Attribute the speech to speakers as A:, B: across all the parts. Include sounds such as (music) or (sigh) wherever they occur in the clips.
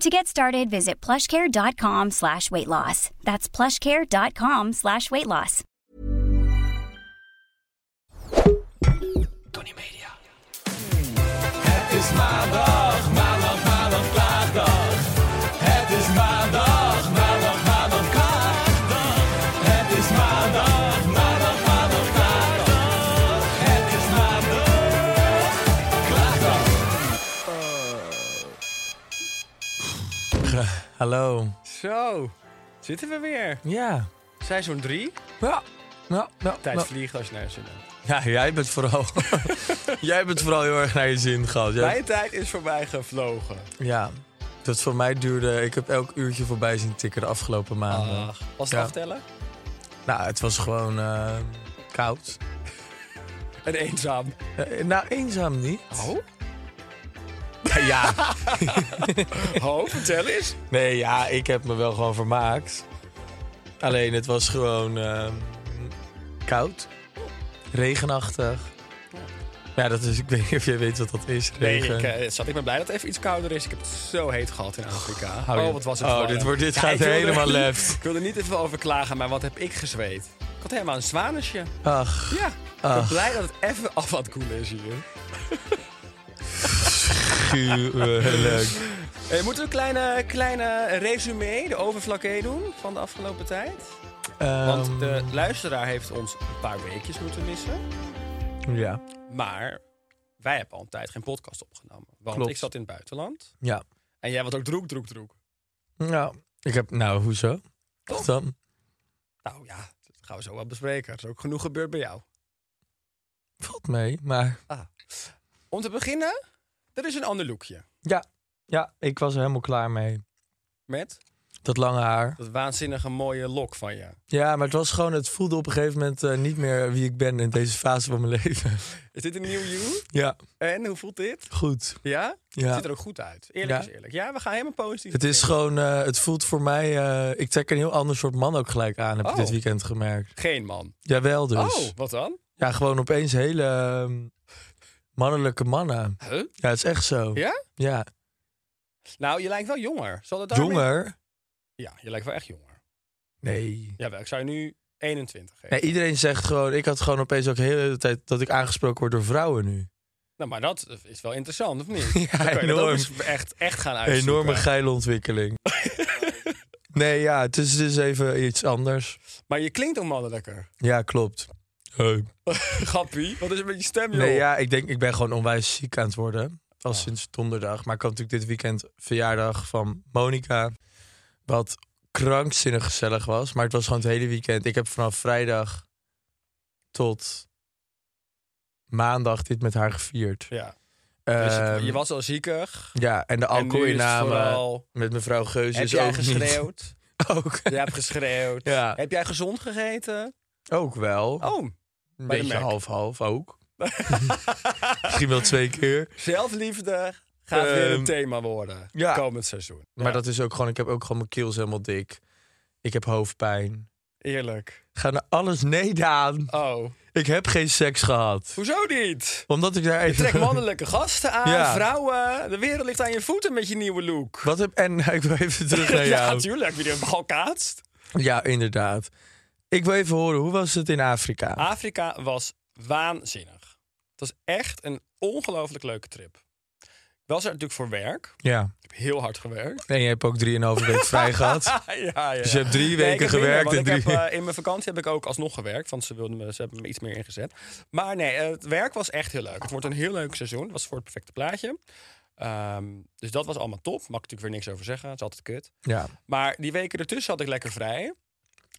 A: To get started, visit plushcare.com slash weight loss. That's plushcare.com slash weight loss.
B: Tony Media. Het is maandag, maandag, maandag, klaagdag. Het is maandag, maandag, maandag, klaagdag. Het is maandag, maandag, maandag, klaagdag. Het is maandag, klaagdag.
C: Hallo.
D: Zo, zitten we weer.
C: Ja.
D: Seizoen 3.
C: Ja. Nou, nou,
D: Tijd
C: nou.
D: vliegt als je naar je zin hebt.
C: Ja, jij bent vooral. (laughs) jij dus. bent vooral heel erg naar je zin gehad. Jij-
D: Mijn tijd is voorbij gevlogen.
C: Ja. Dat voor mij duurde. Ik heb elk uurtje voorbij zien tikken de afgelopen maanden.
D: Ach, was het
C: Ja.
D: aftellen?
C: Nou, het was gewoon eh, koud.
D: En eenzaam.
C: Eh, nou, eenzaam niet. (laughs)
D: Oh?
C: Ja.
D: Oh, vertel eens.
C: Nee, ja, ik heb me wel gewoon vermaakt. Alleen het was gewoon eh, koud, regenachtig. Ja, dat is, ik weet niet of jij weet wat dat is.
D: Nee,
C: Regen.
D: ik, eh, zat, ik ben blij dat het even iets kouder is. Ik heb het zo heet gehad in Afrika.
C: Hou je-
D: oh, wat was het
C: Oh,
D: warm.
C: dit wordt- dit
D: Ja,
C: gaat
D: ik wil er- (laughs)
C: helemaal left.
D: ik wil er niet even over klagen, maar wat heb ik gezweet. Ik had helemaal een zwanesje.
C: Ach,
D: Ja, ik ben
C: Ach.
D: blij dat het even af aan het koelen is hier.
C: gruwelijk.
D: Hey, Eh, moeten we een kleine, kleine resume, de overflakke doen van de afgelopen tijd? Want eh,
C: Ehm,
D: de luisteraar heeft ons een paar weekjes moeten missen.
C: Ja,
D: Maar wij hebben al een tijd geen podcast opgenomen. Want
C: Klopt.
D: ik zat in het buitenland.
C: ja.
D: En jij was ook droek, droek, droek.
C: Nou, ik heb... Nou, hoezo? Wat dan?
D: Nou ja, dat gaan we zo wel bespreken. Er is ook genoeg gebeurd bij jou.
C: Valt mee, maar...
D: Om te beginnen, er is een ander lookje.
C: Ja, ja, ik was er helemaal klaar mee.
D: Met
C: Dat lange haar.
D: dat waanzinnige mooie lok van je.
C: Ja, maar het was gewoon... Het voelde op een gegeven moment eh, niet meer wie ik ben in deze fase van mijn (laughs) leven.
D: Is dit een nieuw
C: (laughs)
D: you?
C: Ja,
D: En hoe voelt dit?
C: goed.
D: Ja?
C: Ja.
D: Ziet er ook goed uit. Eerlijk
C: Ja.
D: is eerlijk. Ja, we gaan helemaal positief.
C: Het is
D: beginnen.
C: gewoon, eh, het voelt voor mij, eh, ik trek een heel ander soort man ook gelijk aan, heb ik
D: Oh.
C: dit weekend gemerkt.
D: Geen man.
C: Jawel dus.
D: Oh, wat dan?
C: Ja, gewoon opeens hele ehm, mannelijke mannen.
D: Huh?
C: Ja, het is echt zo.
D: Ja?
C: Ja.
D: Nou, je lijkt wel jonger. Zal dat daarmee-
C: Jonger?
D: Ja, je lijkt wel echt jonger.
C: Nee.
D: Jawel, ik zou je nu 21 geven.
C: nee. Iedereen zegt gewoon, ik had gewoon opeens ook heel de hele tijd dat ik aangesproken word door vrouwen nu.
D: Nou, maar dat is wel interessant, of
C: (laughs)
D: niet?
C: Ja,
D: Dan kan je dat ook
C: enorm.
D: eens echt, echt gaan uitzoeken.
C: Enorme geile
D: (laughs)
C: ontwikkeling. nee, ja, het is dus even iets anders.
D: Maar je klinkt ook mannelijker.
C: Ja, klopt. Hey.
D: (laughs) Grappie, wat is het met je stem, joh?
C: Nee, ja, ik denk, ik ben gewoon onwijs ziek aan het worden. Al sinds donderdag. Maar ik had natuurlijk dit weekend verjaardag van Monica. Wat krankzinnig gezellig was. Maar het was gewoon het hele weekend. Ik heb vanaf vrijdag tot maandag dit met haar gevierd.
D: Ja.
C: Ehm,
D: Dus het- je was al ziekig.
C: Ja, en de
D: en nu is het
C: alcoholinname
D: vooral-
C: met mevrouw Geus
D: Heb
C: Dus is
D: jij
C: ook niet.
D: geschreeuwd?
C: (laughs) Ook,
D: jij hebt geschreeuwd.
C: (laughs) Ja.
D: Heb jij gezond gegeten?
C: ook wel.
D: Oh,
C: een
D: bij de
C: beetje
D: Mac.
C: half-half
D: (laughs)
C: ook. Misschien wel twee keer.
D: zelfliefde gaat weer
C: Ehm,
D: een thema worden.
C: ja.
D: Komend seizoen.
C: Maar dat is ook gewoon, ik heb ook gewoon mijn keels helemaal dik. Ik heb hoofdpijn.
D: Eerlijk.
C: Ga naar alles nee, Daan.
D: Oh,
C: Ik heb geen seks gehad.
D: hoezo
C: (laughs)
D: niet?
C: Omdat ik daar even...
D: Trek mannelijke gasten aan,
C: Ja.
D: vrouwen. De wereld ligt aan je voeten met je nieuwe look.
C: (laughs) Wat heb... En (laughs) ik wil even
D: (laughs)
C: terug naar
D: ja,
C: jou.
D: natuurlijk. Wie er al kaatst.
C: Ja, inderdaad. Ik wil even horen, hoe was het in
D: Ah.
C: Afrika?
D: Afrika was waanzinnig. Het was echt een ongelooflijk leuke trip. Was er natuurlijk voor werk.
C: Ja.
D: Ik heb heel hard gewerkt.
C: En je hebt ook drieënhalve week
D: (laughs)
C: vrij gehad.
D: Ah, (laughs) ja, ja.
C: Dus je hebt drie
D: Nee, ik
C: weken
D: heb minder,
C: gewerkt
D: want
C: en
D: ik
C: drie...
D: heb, eh, in mijn vakantie heb ik ook alsnog gewerkt, want ze, wilden me, ze hebben me iets meer ingezet. Maar nee, eh, het werk was echt heel leuk. Het wordt een heel leuk seizoen. Het was voor het perfecte plaatje. Ehm, dus dat was allemaal top. Mag ik natuurlijk weer niks over zeggen. Het is altijd kut.
C: Ja.
D: Maar die weken ertussen had ik lekker vrij.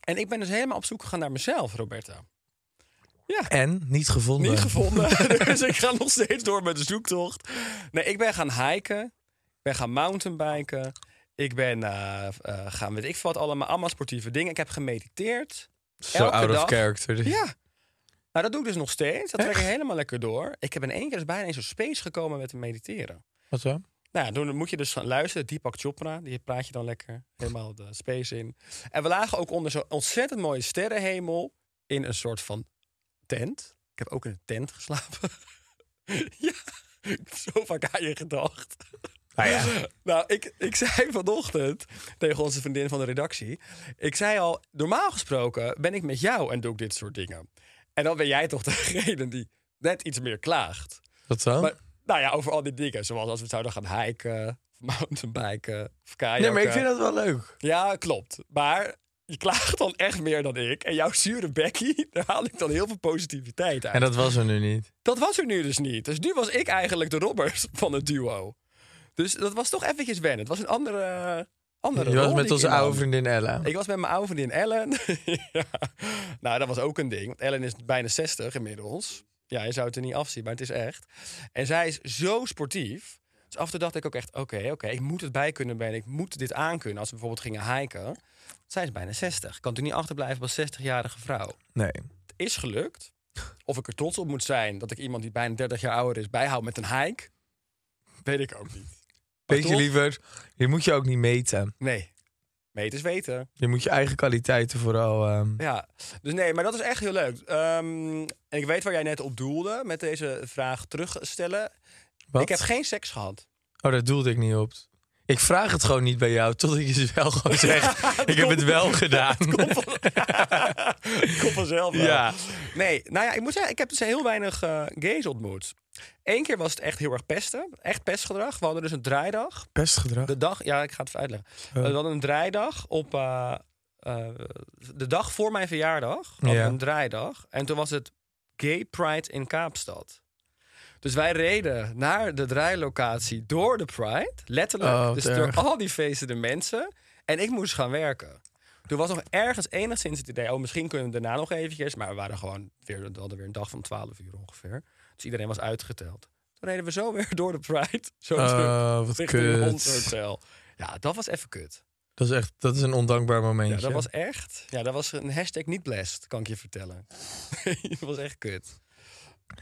D: En ik ben dus helemaal op zoek gegaan naar mezelf, Roberta.
C: En niet gevonden.
D: Niet gevonden. dus ik ga nog steeds door met de zoektocht. Nee, ik ben gaan hiken. Ik ben gaan mountainbiken. Ik ben eh, eh, gaan, weet ik veel wat, allemaal, allemaal sportieve dingen. Ik heb gemediteerd.
C: Zo
D: Elke
C: out
D: dag.
C: of character.
D: Ja. Nou, dat doe ik dus nog steeds. Dat trek ik helemaal lekker door. Ik heb in één keer dus bijna in zo'n space gekomen met mediteren.
C: Wat dan?
D: Nou ja, dan moet je dus gaan luisteren. Deepak Chopra, die praat je dan lekker helemaal de space in. En we lagen ook onder zo'n ontzettend mooie sterrenhemel in een soort van tent. Ik heb ook in een tent geslapen. (laughs) ja, ik heb zo vaak aan je gedacht.
C: Nou ja.
D: Nou, ik, ik zei vanochtend tegen onze vriendin van de redactie... Ik zei al, normaal gesproken ben ik met jou en doe ik dit soort dingen. En dan ben jij toch (laughs) degene die net iets meer klaagt.
C: Wat dan?
D: Maar, nou ja, over al die dingen. Zoals als we zouden gaan hiken, (laughs) of mountainbiken, of kajakken.
C: nee, maar ik vind dat wel leuk.
D: Ja, klopt. Maar je klaagt dan echt meer dan ik. En jouw zure Becky, (laughs) daar haal ik dan heel veel positiviteit uit.
C: En dat was er nu niet.
D: Dat was er nu dus niet. Dus nu was ik eigenlijk de Robert (laughs) van het duo. Dus dat was toch eventjes wennen. Het was een andere... andere
C: Je was
D: rol die
C: met
D: ik
C: onze
D: innam.
C: oude vriendin Ella.
D: Ik was met mijn oude vriendin Ellen. (laughs) ja. Nou, dat was ook een ding. Want Ellen is bijna 60 inmiddels. Ja, je zou het er niet afzien, maar het is echt. En zij is zo sportief. Dus af en toe dacht ik ook echt, oké, oké, ik moet het bij kunnen ben. Ik moet dit aankunnen als we bijvoorbeeld gingen hiken. Zij is bijna 60. Ik kan natuurlijk niet achterblijven als 60-jarige vrouw.
C: Nee.
D: Het is gelukt. Of ik er trots op moet zijn dat ik iemand die bijna 30 jaar ouder is bijhoud met een hike. Weet ik ook niet. Maar
C: Beetje
D: toch?
C: liever, je moet je ook niet meten.
D: Nee. Meters weten.
C: Je moet je eigen kwaliteiten vooral... ehm,
D: Ja, dus nee, maar dat is echt heel leuk. Ehm, en ik weet waar jij net op doelde met deze vraag terugstellen.
C: wat?
D: Ik heb geen seks
C: (laughs)
D: gehad.
C: Oh, daar doelde ik niet op. Ik vraag het gewoon niet bij jou, totdat je het wel gewoon zegt. ik heb het wel gedaan.
D: (laughs) Kom vanzelf wel.
C: Ja.
D: Nee, nou ja, ik moet zeggen, ik heb dus heel weinig eh, gays ontmoet. Eén keer was het echt heel erg pesten. Echt pestgedrag. We hadden dus een draaidag.
C: Pestgedrag.
D: De dag, ja, ik ga het even uitleggen. Eh, We hadden een draaidag op eh, eh, de dag voor mijn verjaardag. Hadden we
C: Ja.
D: een draaidag. En toen was het Gay Pride in Kaapstad. Dus wij reden naar de draailocatie door de Pride. Letterlijk.
C: Oh, wat
D: dus door
C: erg.
D: al die feesten de mensen. En ik moest gaan werken. Toen was nog ergens enigszins het idee... oh, misschien kunnen we daarna nog eventjes... maar we waren gewoon weer, we hadden weer een dag van 12 uur ongeveer. Dus iedereen was uitgeteld. Toen reden we zo weer door de Pride. Zo
C: Oh,
D: terug
C: wat
D: richting
C: kut.
D: ons hotel. Ja, dat was even kut.
C: Dat is echt, dat is een ondankbaar momentje.
D: Ja, dat was echt... Ja, dat was een hashtag niet blessed, kan ik je vertellen. (laughs) dat was echt kut.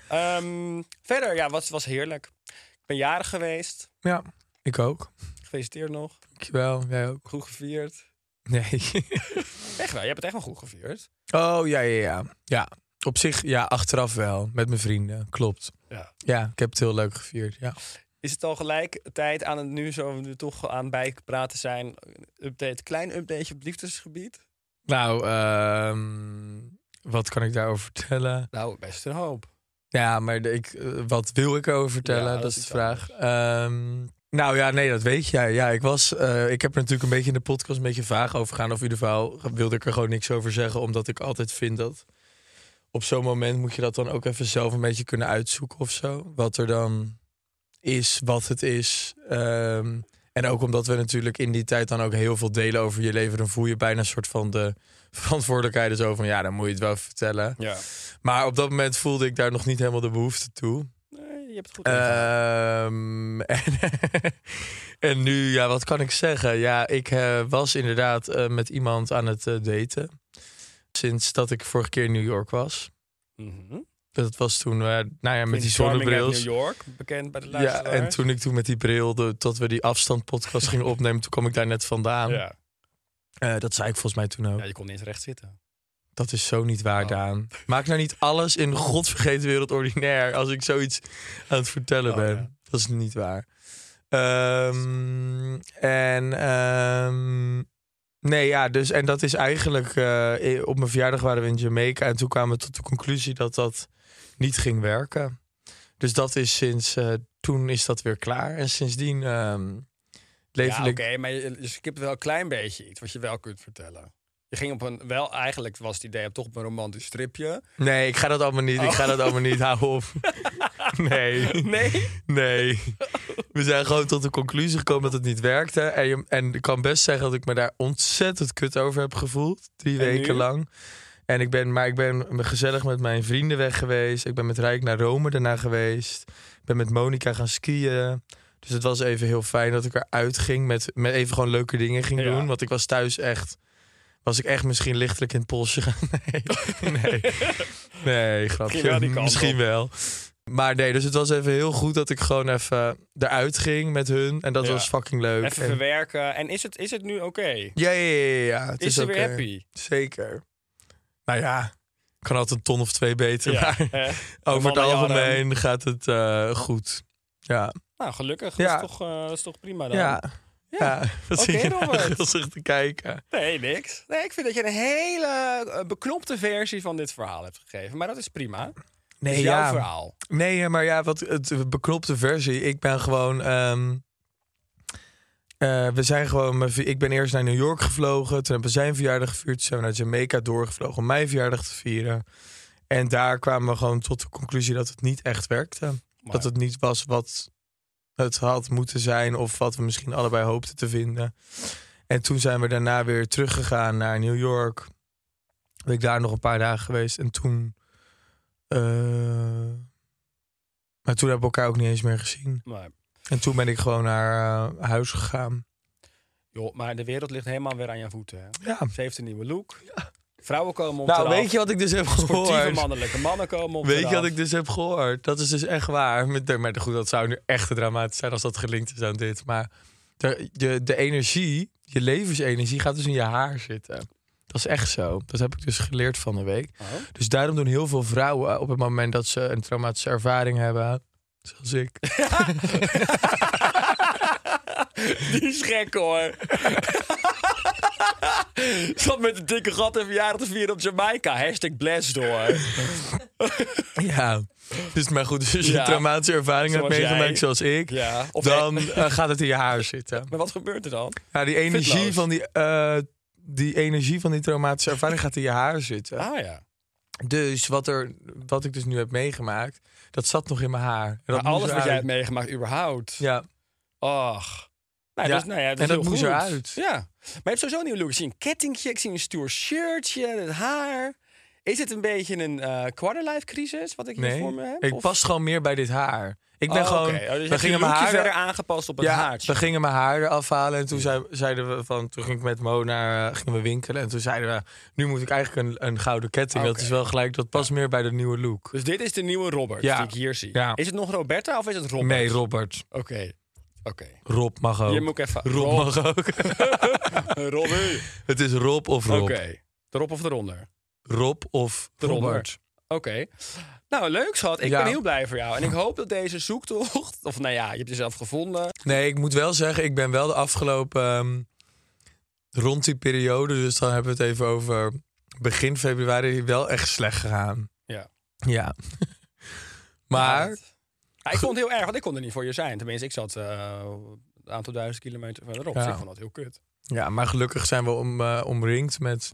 D: Ehm, verder, ja, was, was heerlijk. Ik ben jarig geweest.
C: Ja, ik ook.
D: Gefeliciteerd nog.
C: Dankjewel, jij ook.
D: Goed gevierd.
C: Nee. (laughs)
D: Echt wel, je hebt het echt wel goed gevierd.
C: oh, ja, ja, ja. Ja, op zich, ja, achteraf wel. Met mijn vrienden, klopt.
D: Ja.
C: Ja, ik heb het heel leuk gevierd, ja.
D: Is het al gelijk tijd aan het nu zo we nu toch aan bijpraten zijn? Update, klein updateje op het liefdesgebied?
C: Nou, ehm, wat kan ik daarover vertellen?
D: Nou, best een hoop.
C: Ja, maar de- ik, eh, wat wil ik over vertellen?
D: Ja,
C: dat,
D: dat
C: is
D: is
C: de vraag. Ehm, nou ja, nee, dat weet jij. Ja, ik, was, eh, ik heb er natuurlijk een beetje in de podcast een beetje vaag over gegaan. Of in ieder geval wilde ik er gewoon niks over zeggen. Omdat ik altijd vind dat op zo'n moment moet je dat dan ook even zelf een beetje kunnen uitzoeken of zo. Wat er dan is, wat het is. Ehm, en ook omdat we natuurlijk in die tijd dan ook heel veel delen over je leven. Dan voel je bijna een soort van de verantwoordelijkheid. Dus over van ja, dan moet je het wel even vertellen.
D: Ja.
C: Maar op dat moment voelde ik daar nog niet helemaal de behoefte toe.
D: Nee, je hebt
C: Eh,
D: het goed gedaan.
C: Ehm, (laughs) en, en nu, ja, wat kan ik zeggen? Ja, ik eh, was inderdaad eh, met iemand aan het eh, daten. Sinds dat ik vorige keer in New York was.
D: Mhm.
C: Dat was toen, eh, nou ja, met die
D: Prince Charming uit
C: zonnebril.
D: New York, bekend bij de
C: Ja,
D: luisteraars.
C: en toen ik toen met die bril, de, dat we die afstandpodcast gingen opnemen, toen kwam ik daar net vandaan.
D: Ja.
C: Eh, dat zei ik volgens mij toen ook.
D: ja, je kon niet eens recht zitten.
C: Dat is zo niet waar,
D: Oh.
C: Daan. Maak nou niet alles in godvergeten wereld ordinair als ik zoiets aan het vertellen
D: Oh,
C: ben.
D: ja.
C: Dat is niet waar. Ehm, en ehm, nee, ja, dus en dat is eigenlijk eh, op mijn verjaardag waren we in Jamaica en toen kwamen we tot de conclusie dat dat niet ging werken. Dus dat is sinds eh, toen is dat weer klaar. En sindsdien ehm leefde
D: Ja, oké,
C: ik...
D: maar je, je skipt wel een klein beetje iets wat je wel kunt vertellen. Je ging op een, wel eigenlijk was het idee om toch op een romantisch stripje.
C: Nee, ik ga dat allemaal niet. Ik ga
D: Oh.
C: dat allemaal niet. Hou
D: (laughs)
C: op. (laughs) Nee.
D: Nee? (laughs)
C: Nee. We zijn gewoon tot de conclusie gekomen dat het niet werkte. En, je, en ik kan best zeggen dat ik me daar ontzettend kut over heb gevoeld. Drie
D: En
C: weken
D: nu?
C: lang. En ik ben, maar ik ben gezellig met mijn vrienden weg geweest. Ik ben met Rijk naar Rome daarna geweest. Ik ben met Monica gaan skiën. Dus het was even heel fijn dat ik eruit ging. Met, met even gewoon leuke dingen ging
D: Ja.
C: doen. Want ik was thuis echt... Was ik echt misschien lichtelijk in het polsje gaan? Nee, (laughs) nee. Nee, grapje.
D: Misschien wel die kant
C: Misschien
D: op.
C: wel. Maar nee, dus het was even heel goed dat ik gewoon even eruit ging met hun. En dat
D: Ja.
C: was fucking leuk.
D: Even
C: En-
D: verwerken. En is het, is het nu oké?
C: ja, ja, ja, ja, ja. Het
D: Is
C: is,
D: ze
C: ook eh,
D: weer happy?
C: (laughs) Zeker. Nou ja, kan altijd een ton of twee beter.
D: (laughs) Ja, eh,
C: Maar
D: hè?
C: over het
D: Mannen jaren.
C: algemeen gaat het eh, goed. Ja.
D: Nou, gelukkig.
C: Ja.
D: Dat, is toch, eh, dat is toch prima dan?
C: Ja. Ja. (laughs) Wat zit
D: Oké,
C: je nou (laughs)
D: Robert.
C: gulzig te kijken?
D: Nee, niks. Nee, ik vind dat je een hele eh, beknopte versie van dit verhaal hebt gegeven. Maar dat is prima.
C: Nee,
D: dat is jouw verhaal.
C: Nee, hè, maar ja, wat het beknopte versie. Ik ben gewoon. ehm, eh, we zijn gewoon. mijn vi- Ik ben eerst naar New York gevlogen. Toen hebben we zijn verjaardag gevierd. Toen zijn we naar Jamaica doorgevlogen om mijn verjaardag te vieren. En daar kwamen we gewoon tot de conclusie dat het niet echt werkte. Dat het niet was wat het had moeten zijn. Of wat we misschien allebei hoopten te vinden. En toen zijn we daarna weer teruggegaan naar New York. Ben ik daar nog een paar dagen geweest. En toen. eh, maar toen hebben we elkaar ook niet eens meer gezien.
D: Maar,
C: En toen ben ik gewoon naar eh, huis gegaan.
D: joh, maar de wereld ligt helemaal weer aan je voeten. Hè?
C: Ja.
D: Ze heeft een nieuwe look. Vrouwen komen op
C: Nou,
D: de
C: weet je wat ik dus heb
D: Sportieve
C: gehoord?
D: mannelijke mannen komen op
C: Weet je
D: eraf.
C: wat ik dus heb gehoord? Dat is dus echt waar. Met- Maar goed, dat zou nu echt te dramatisch zijn als dat gelinkt is aan dit. Maar de, de, de energie, je levensenergie gaat dus in je haar zitten. Dat is echt zo. Dat heb ik dus geleerd van de week.
D: Oh.
C: Dus daarom doen heel veel vrouwen op het moment dat ze een traumatische ervaring hebben... Zoals ik. (laughs)
D: Die is gek hoor. (laughs) Zat met een dikke gat en verjaardag te vieren op Jamaica. Hashtag blessed hoor.
C: Ja. Dus, maar goed, dus als je
D: Ja.
C: een traumatische ervaring
D: Zoals
C: hebt
D: jij.
C: meegemaakt zoals ik...
D: Ja. Of
C: dan eh, gaat het in je haar zitten.
D: Maar wat gebeurt er dan?
C: Ja, die energie
D: Fitloos.
C: van die, eh, die energie van die traumatische ervaring gaat in je haar zitten.
D: Ah ja.
C: Dus wat, er, wat ik dus nu heb meegemaakt, dat zat nog in mijn haar. En dat
D: Maar alles
C: moest
D: wat jij hebt
C: eruit.
D: meegemaakt überhaupt.
C: Ja.
D: Ach. Nou,
C: Ja,
D: dus, nou ja, dat
C: en
D: is
C: dat
D: heel
C: moest
D: goed.
C: eruit.
D: Ja. Maar je hebt sowieso een nieuwe look. Ik zie een kettingje, ik zie een stoer shirtje, het haar. Is het een beetje een eh quarterlife crisis wat ik hier
C: Nee,
D: voor me heb?
C: ik
D: Of-
C: past gewoon meer bij dit haar. Ik ben
D: Oh,
C: gewoon...
D: oké. Oh, dus je
C: we
D: hebt
C: gingen
D: je
C: mijn
D: lookje
C: haar
D: verder aangepast op het
C: Ja,
D: haartje.
C: we gingen mijn haar eraf halen en toen zei- zeiden we van, toen ging ik met Mo naar, eh, gingen we winkelen en toen zeiden we, nu moet ik eigenlijk een, een gouden ketting. Dat
D: Oké.
C: is wel gelijk, dat past meer bij de nieuwe look.
D: Dus dit is de nieuwe Robert
C: Ja.
D: die ik hier zie.
C: Ja.
D: Is het nog Roberta of is het Robert?
C: Nee, Robert.
D: Oké. Oké.
C: Rob mag ook.
D: Hier moet ik even...
C: Rob mag
D: (laughs)
C: ook.
D: Robbie.
C: Het is Rob of
D: Oké.
C: Rob.
D: Erop of eronder?
C: Rob of
D: Eronder.
C: Robert.
D: Oké. Nou, leuk schat. Ik
C: Ja.
D: ben heel blij voor jou. En ik hoop dat deze zoektocht... Of nou ja, je hebt jezelf gevonden.
C: Nee, ik moet wel zeggen, ik ben wel de afgelopen... ehm, rond die periode, dus dan hebben we het even over begin februari... wel echt slecht gegaan.
D: Ja.
C: Ja. (laughs) maar...
D: Ja, ik vond het heel erg, want ik kon er niet voor je zijn. Tenminste, ik zat eh, een aantal duizend kilometer verderop. Dus
C: Ja.
D: ik vond dat heel kut.
C: Ja, maar gelukkig zijn we om, eh, omringd met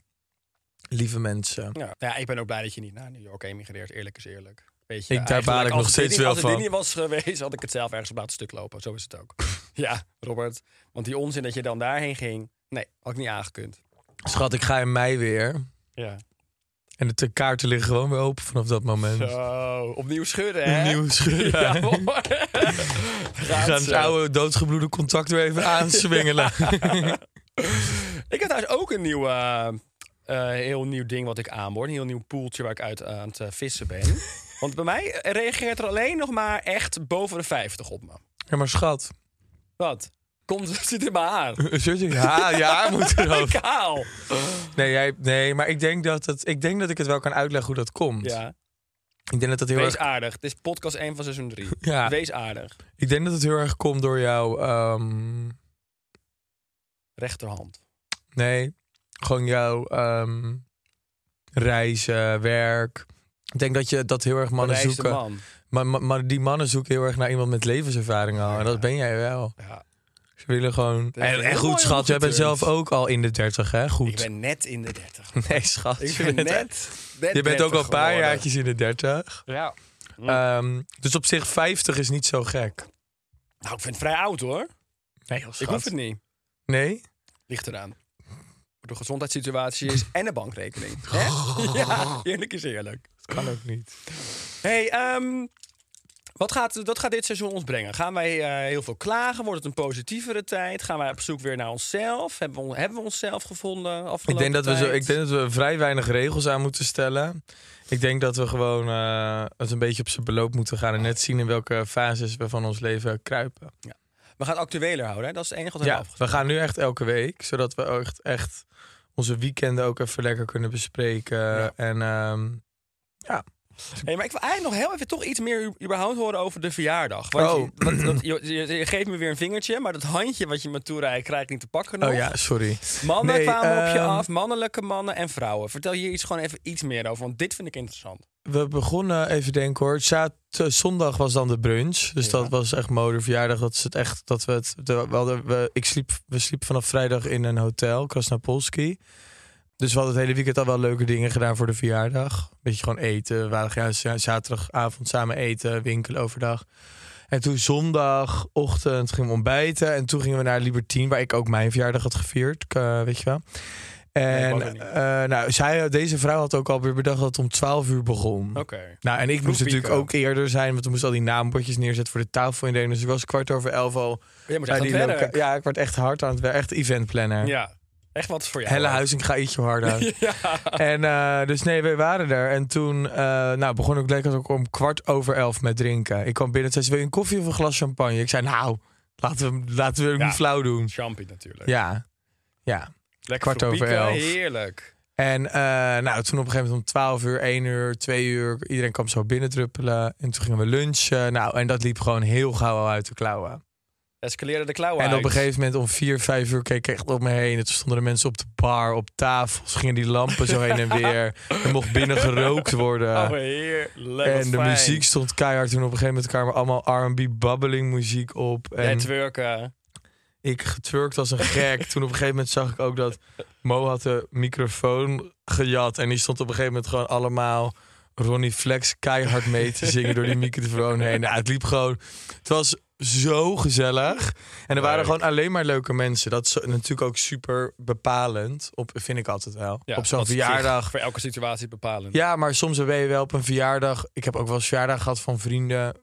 C: lieve mensen.
D: Ja. Nou ja, ik ben ook blij dat je niet naar New York emigreert. Eerlijk is eerlijk. Weet je,
C: Ik- daar
D: eigenlijk,
C: baal ik
D: als
C: nog
D: dit
C: steeds
D: niet-
C: wel
D: Als het
C: van.
D: dit niet was geweest, had ik het zelf ergens op laten stuk lopen. Zo is het ook. (laughs) ja, Robert. Want die onzin dat je dan daarheen ging... Nee, had ik niet aangekund.
C: Schat, ik ga in mei weer.
D: Ja.
C: En de kaarten liggen gewoon weer open vanaf dat moment.
D: Zo, opnieuw schudden, hè? (laughs)
C: Nieuw schudden. (laughs)
D: Ja, hoor.
C: We
D: Gaat
C: gaan het
D: zo.
C: oude doodgebloede contact weer
D: (laughs)
C: even aanswingelen.
D: Ik heb trouwens ook een nieuw, eh, eh, heel nieuw ding wat ik aanboor. Een heel nieuw poeltje waar ik uit aan het eh, vissen
C: (laughs)
D: ben. Want bij mij reageert er alleen nog maar echt boven de 50 op me.
C: Ja, maar schat.
D: Wat? Komt, (laughs) zit in mijn haar.
C: Zit je? Ja, ja, moet (laughs)
D: Ik
C: erover.
D: haal.
C: Nee, jij, nee, maar ik denk, dat het, ik denk dat ik het wel kan uitleggen hoe dat komt.
D: Ja,
C: Ik denk dat dat heel
D: wees
C: erg...
D: aardig. Dit is podcast 1 van seizoen 3.
C: Ja.
D: Wees aardig.
C: Ik denk dat het heel erg komt door jouw... ehm,
D: Rechterhand.
C: Nee, gewoon jouw ehm, reizen, werk. Ik denk dat je dat heel erg mannen
D: Bereisde
C: zoeken.
D: man.
C: Maar, maar, maar die mannen zoeken heel erg naar iemand met levenservaring al. En dat ben jij wel.
D: Ja.
C: Ze willen gewoon...
D: is
C: En, en
D: heel
C: goed,
D: mooi
C: schat, jij bent
D: opgeturnd.
C: zelf ook al in de 30, hè? Goed.
D: Ik ben net in de 30.
C: (laughs) Nee, schat.
D: Ik
C: je
D: ben net,
C: bent-
D: net
C: Je bent ook
D: 30
C: al een paar
D: geworden.
C: jaartjes in de 30.
D: Ja.
C: Ehm, dus op zich 50 is niet zo gek.
D: Nou, ik vind het vrij oud hoor.
C: Nee, schat.
D: Ik hoef het niet.
C: Nee?
D: Ligt eraan. Wat de gezondheidssituatie is en een bankrekening.
C: (laughs)
D: Hè? (laughs) Ja, eerlijk is eerlijk.
C: Dat kan ook niet.
D: hey, ehm, wat gaat, dat gaat dit seizoen ons brengen? Gaan wij eh, heel veel klagen? Wordt het een positievere tijd? Gaan wij op zoek weer naar onszelf? Hebben we, on- hebben we onszelf gevonden
C: Ik
D: afgelopen
C: denk, dat we zo,
D: tijd?
C: ik denk dat we vrij weinig regels aan moeten stellen. Ik denk dat we gewoon eh, het een beetje op zijn beloop moeten gaan. En net zien in welke fases we van ons leven kruipen.
D: We gaan het actueler houden, hè? Dat is het enige wat we
C: Ja,
D: hebben afgesproken.
C: we gaan nu echt elke week. Zodat we ook echt, echt onze weekenden ook even lekker kunnen bespreken.
D: Ja.
C: En ehm,
D: Hey, maar ik wil eigenlijk nog heel even toch iets meer u- überhaupt horen over de verjaardag. Want
C: Oh.
D: je, want- want je- je- je geeft me weer een vingertje, maar dat handje wat je me toereikt krijg ik niet te pakken nog.
C: Oh ja, sorry.
D: Mannen
C: Nee,
D: kwamen op je
C: ehm,
D: af, mannelijke mannen en vrouwen. Vertel hier iets, gewoon even iets meer over, want dit vind ik interessant.
C: We begonnen, even denken hoor. Zaad, zondag was dan de brunch. Dus dat was echt moederverjaardag. Dat is het echt dat we het. de- we, hadden, we, ik sliep, we sliepen vanaf vrijdag in een hotel, Krasnapolski. Dus we hadden het hele weekend al wel leuke dingen gedaan voor de verjaardag. Beetje gewoon eten. We waren ja, za- zaterdagavond samen eten, winkelen overdag. En toen zondagochtend gingen we ontbijten. En toen gingen we naar Libertine, waar ik ook mijn verjaardag had gevierd. k- eh, weet je wel. En
D: ik wou er niet.
C: eh, nou, zij, deze vrouw had ook alweer bedacht dat het om 12 uur begon.
D: Oké.
C: Nou, en ik moest
D: pieken.
C: natuurlijk ook eerder zijn, want toen moest al die naambordjes neerzetten voor de tafelindeling. Dus ik was kwart over elf al.
D: Jij moet
C: bij
D: echt aan
C: die
D: het
C: loca-
D: werk.
C: Ja, ik werd echt hard aan het werk. Echt eventplanner.
D: Ja, echt wat voor jou.
C: Helle Huizing, ga ietsje
D: (laughs)
C: harder. En eh, dus nee, we waren er. En toen eh, nou, begon ik lekker ook om kwart over elf met drinken. Ik kwam binnen en zei ze, wil je een koffie of een glas champagne? Ik zei, nou, laten we, laten we het
D: Ja.
C: niet flauw doen.
D: Champie natuurlijk.
C: Ja, ja.
D: Lekker
C: kwart over
D: verpieken,
C: elf.
D: Heerlijk.
C: En eh, nou, toen op een gegeven moment om 12 uur, 1 uur, 2 uur, iedereen kwam zo binnendruppelen. En toen gingen we lunchen. Nou, en dat liep gewoon heel gauw al uit de klauwen.
D: Escaleren de klauwen
C: En op
D: uit.
C: een gegeven moment om 4, 5 uur keek ik echt om me heen. En toen stonden er mensen op de bar, op tafels, gingen die lampen zo heen en weer. Er mocht binnen gerookt worden.
D: Oh, heerlijk. wat
C: en de
D: fijn.
C: muziek stond keihard. Toen op een gegeven moment kwamen allemaal R&B bubbling muziek op.
D: Jij
C: En
D: twerken.
C: ik getwerkt als een gek. Toen op een gegeven moment zag ik ook dat Mo had de microfoon gejat. En die stond op een gegeven moment gewoon allemaal Ronnie Flex keihard mee te zingen door die microfoon heen. Nou, het liep gewoon... Het was zo gezellig. En er waren
D: Leuk.
C: gewoon alleen maar leuke mensen. Dat is natuurlijk ook super bepalend. Op, vind ik altijd wel.
D: Ja,
C: op zo'n
D: dat is
C: verjaardag.
D: Voor elke situatie bepalend.
C: Ja, maar soms ben je wel op een verjaardag. Ik heb ook wel eens verjaardag gehad van vrienden.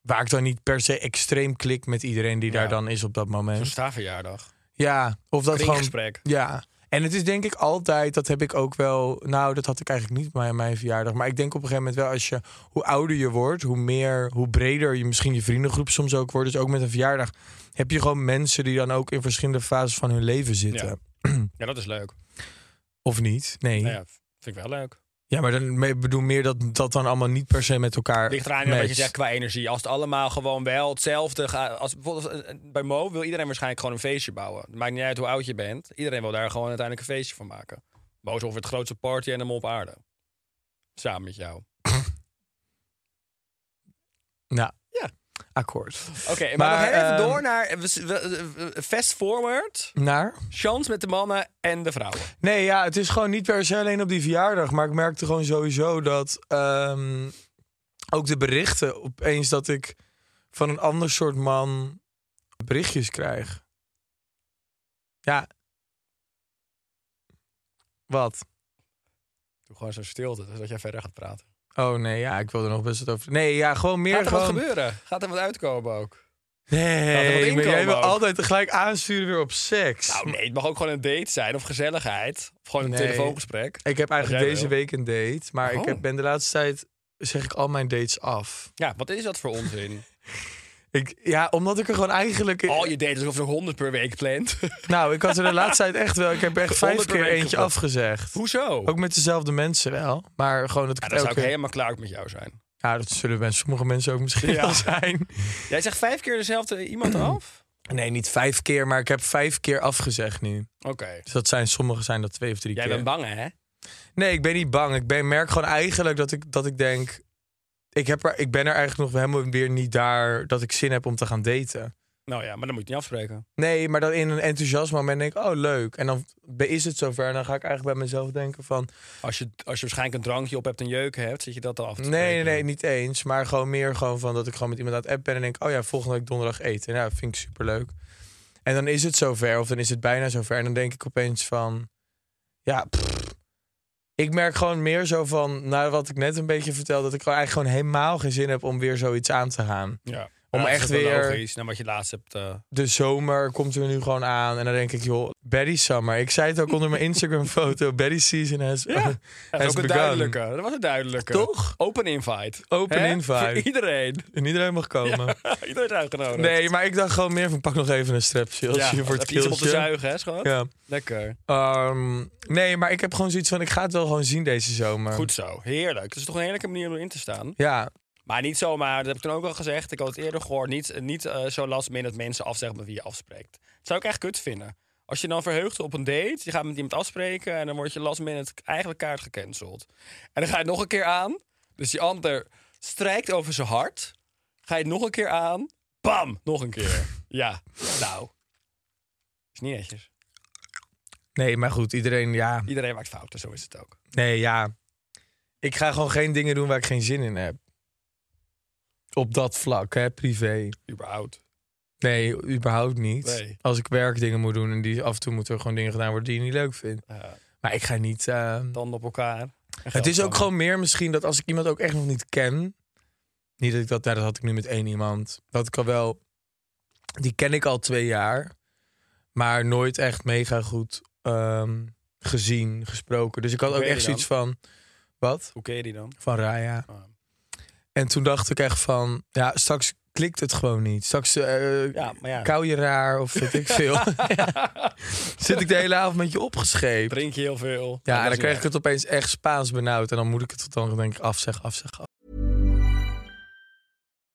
C: Waar ik dan niet per se extreem klik met iedereen die daar
D: Ja.
C: dan is op dat
D: Zo'n
C: moment.
D: staverjaardag.
C: Ja, of dat gewoon.
D: Kringgesprek.
C: Ja. En het is denk ik altijd, dat heb ik ook wel. Nou, dat had ik eigenlijk niet bij mijn verjaardag. Maar ik denk op een gegeven moment wel, als je hoe ouder je wordt, hoe meer, hoe breder je misschien je vriendengroep soms ook wordt. Dus ook met een verjaardag heb je gewoon mensen die dan ook in verschillende fases van hun leven zitten.
D: Ja. Ja, dat is leuk.
C: Of niet? Nee.
D: Nou ja, vind ik wel leuk.
C: Ja, maar dan me- ik bedoel meer dat dat dan allemaal niet per se met elkaar.
D: Ligt eraan wat je
C: matcht.
D: zegt qua energie. Als het allemaal gewoon wel hetzelfde gaat. Als, bijvoorbeeld als- eh, bij Mo wil iedereen waarschijnlijk gewoon een feestje bouwen. Het maakt niet uit hoe oud je bent. Iedereen wil daar gewoon uiteindelijk een feestje van maken. Mo is ongeveer het grootste party en op aarde. Samen met jou.
C: Nou,
D: Ja.
C: akkoord.
D: Oké, maar,
C: Maar,
D: nog heel even
C: ehm,
D: door naar we- we- we- fast forward.
C: Naar?
D: Chance met de mannen en de vrouwen.
C: Nee, ja, het is gewoon niet per se alleen op die verjaardag. Maar ik merkte gewoon sowieso dat ehm, ook de berichten opeens dat ik van een ander soort man berichtjes krijg. Ja. Wat?
D: Doe gewoon zo'n stilte, zodat jij verder gaat praten.
C: Oh nee, ja, ik wilde er nog best wat over. Nee, ja, gewoon meer
D: Gaat er wat
C: gewoon.
D: gebeuren? Gaat er wat uitkomen ook? Laat er wat
C: Nee, maar jij
D: inkomen
C: wil
D: ook.
C: altijd gelijk aansturen weer op seks.
D: Nou nee, het mag ook gewoon een date zijn of gezelligheid. Of gewoon een
C: Nee.
D: telefoongesprek.
C: Ik heb eigenlijk
D: jij
C: deze
D: wil.
C: week een date, maar
D: Oh.
C: ik heb, ben de laatste tijd zeg ik al mijn dates af.
D: Ja, wat is dat voor (laughs) onzin?
C: Ik, ja, omdat ik er gewoon eigenlijk.
D: Al Oh, je deed alsof je 100 per week plant. (laughs)
C: Nou, ik had er de laatste tijd echt wel. Ik heb echt vijf
D: Honderd per
C: keer
D: week
C: eentje
D: gepakt.
C: afgezegd.
D: Hoezo?
C: Ook met dezelfde mensen wel. Maar gewoon dat ik
D: Ja,
C: het
D: dan zou
C: elke
D: ik
C: keer-
D: helemaal klaar met jou zijn.
C: Ja, dat zullen mensen, sommige mensen ook misschien
D: Ja.
C: wel zijn.
D: Jij zegt vijf keer dezelfde (clears throat) iemand af?
C: Nee, niet vijf keer, maar ik heb vijf keer afgezegd nu.
D: Oké.
C: Dus dat zijn, sommige zijn dat twee of drie
D: Jij
C: keer.
D: bent bang, hè?
C: Nee, ik ben niet bang. Ik ben, merk gewoon eigenlijk dat ik, dat ik denk... ik, heb er, ik ben er eigenlijk nog helemaal weer niet daar dat ik zin heb om te gaan daten.
D: Nou ja, maar dan moet je het niet afspreken.
C: Nee, maar dan in een enthousiasme moment denk ik, oh leuk. En dan be- is het zover en dan ga ik eigenlijk bij mezelf denken van...
D: Als je, als je waarschijnlijk een drankje op hebt en jeuk hebt, zit je dat dan af te
C: Nee, nee,
D: spreken.
C: nee, niet eens. Maar gewoon meer gewoon van dat ik gewoon met iemand aan het app ben en denk, oh ja, volgende week donderdag eten. Nou, vind ik superleuk. En dan is het zover, of dan is het bijna zover. En dan denk ik opeens van, ja, pff. ik merk gewoon meer zo van, na wat ik net een beetje vertelde, dat ik gewoon eigenlijk gewoon helemaal geen zin heb om weer zoiets aan te gaan.
D: Ja.
C: Om
D: Ja, dat is
C: echt
D: ook wel
C: weer-
D: Logisch, nou, wat je laatst hebt... eh,
C: De zomer komt er nu gewoon aan. En dan denk ik, joh, Betty Summer. Ik zei het ook onder mijn Instagram-foto. (laughs) Betty Season has,
D: Ja, dat
C: has
D: was ook een
C: begun.
D: duidelijke. Dat was een duidelijke.
C: Toch?
D: Open invite.
C: Open
D: Hè?
C: invite.
D: Voor iedereen. (laughs)
C: En iedereen mag komen.
D: iedereen is uitgenodigd.
C: Nee, maar ik dacht gewoon meer van pak nog even een strepje als
D: Ja,
C: je voor het
D: even iets om op te
C: keeltje.
D: zuigen, hè, schat?
C: Ja.
D: Lekker.
C: Ehm, nee, maar ik heb gewoon zoiets van ik ga het wel gewoon zien deze zomer.
D: Goed zo. Heerlijk. Het is toch een heerlijke manier om in te staan.
C: Ja,
D: Maar niet zomaar, dat heb ik toen ook al gezegd. Ik had het eerder gehoord. Niet, niet eh, zo last minute mensen afzeggen met wie je afspreekt. Dat zou ik echt kut vinden. Als je dan verheugt op een date, je gaat met iemand afspreken... en dan word je last minute eigenlijk kaart gecanceld. En dan ga je het nog een keer aan. Dus die ander strijkt over zijn hart. Ga je het nog een keer aan. Bam! Nog een keer.
C: (laughs)
D: Ja, nou. Is niet netjes.
C: nee, maar goed, iedereen, ja.
D: Iedereen maakt fouten, zo is het ook.
C: Nee, ja. Ik ga gewoon geen dingen doen waar ik geen zin in heb. Op dat vlak, hè, privé.
D: Überhaupt.
C: Nee, überhaupt niet.
D: Nee.
C: Als ik werkdingen moet doen en die af en toe moeten er gewoon dingen gedaan worden die je niet leuk vindt.
D: Ja.
C: Maar ik ga niet. eh,
D: Tanden op elkaar. En
C: Het
D: geld
C: is ook
D: dan.
C: gewoon meer misschien dat als ik iemand ook echt nog niet ken. Niet dat ik dat, nou, dat had ik nu met één iemand. Dat ik al wel. Die ken ik al twee jaar. Maar nooit echt mega goed ehm, gezien, gesproken. Dus ik had
D: Hoe
C: ook
D: ken je
C: echt
D: die
C: zoiets van. Wat?
D: Hoe ken je die dan?
C: Van Raya.
D: Ah.
C: En toen dacht ik echt van. Ja, straks klikt het gewoon niet. Straks eh
D: Ja, maar ja.
C: kou je raar of weet
D: (laughs)
C: ik veel. (laughs) Ja. Zit ik de hele avond met je opgescheept.
D: Drink je heel veel.
C: Ja, en dan
D: dat is
C: kreeg
D: niet
C: ik het opeens echt Spaans benauwd. En dan moet ik het dan denk ik afzeggen, afzeggen.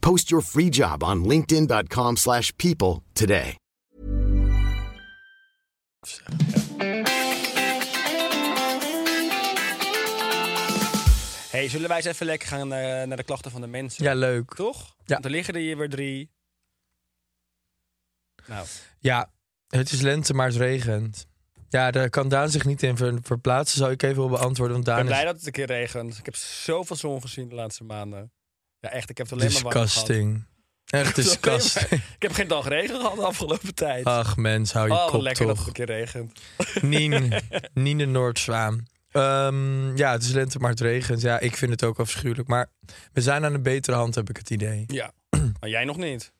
E: Post your free job on linkedin.com/people slash people today.
D: waar. hey, zullen wij eens even lekker gaan eh, naar de klachten van de mensen?
C: Ja, leuk.
D: Toch? Want er liggen er hier weer drie. Nou,
C: Ja, het is lente, maar het regent. Ja, daar kan Daan zich niet in ver- verplaatsen, zou ik even willen beantwoorden. Want
D: ik ben
C: Daan
D: blij
C: is
D: dat het een keer regent. Ik heb zoveel zon gezien de laatste maanden. Ja, echt, ik heb het (laughs) alleen maar warm gehad.
C: disgusting. Echt
D: Het is alleen maar- (laughs)
C: disgusting.
D: Ik heb geen dag regen gehad de afgelopen tijd.
C: Ach mens, hou je
D: oh,
C: kop
D: lekker dat (laughs) het
C: toch.
D: een keer regent.
C: Nien, Nien de Noordzwaan. Ehm, ja, het is lente, maar het regent. Ja, ik vind het ook afschuwelijk. Maar we zijn aan een betere hand, heb ik het idee. (clears throat)
D: Ja, maar jij nog niet,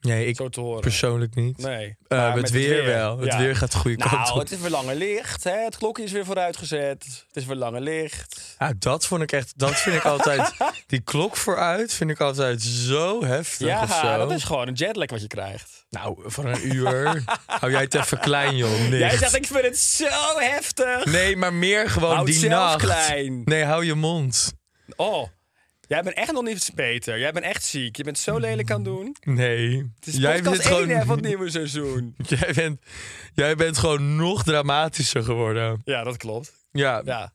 C: Nee, ik
D: zo te horen.
C: persoonlijk niet.
D: Nee.
C: Eh,
D: maar
C: het,
D: met
C: weer wel. Het
D: ja.
C: weer gaat de goede kant
D: Nou,
C: op.
D: het is weer langer licht. Hè? Het klokje is weer vooruitgezet. Het is weer langer licht.
C: Ja, Nou, dat vond ik echt. Dat vind ik altijd.
D: (laughs)
C: Die klok vooruit vind ik altijd zo heftig.
D: Ja,
C: of zo.
D: dat is gewoon een jetlag wat je krijgt.
C: Nou, voor een uur. hou jij het even klein, joh. Nicht.
D: (laughs) Jij zegt,
C: (laughs)
D: ik vind het zo heftig.
C: Nee, maar meer gewoon
D: Houd
C: die
D: zelf
C: nacht.
D: klein.
C: Nee, hou je mond.
D: Oh, jij bent echt nog niet beter. Jij bent echt ziek. Je bent zo lelijk aan het doen.
C: Nee.
D: Het is
C: jij
D: podcast
C: bent
D: 1
C: gewoon.
D: hè, van het nieuwe seizoen.
C: (laughs) jij, bent, jij bent gewoon nog dramatischer geworden.
D: Ja, dat klopt.
C: Ja, ja.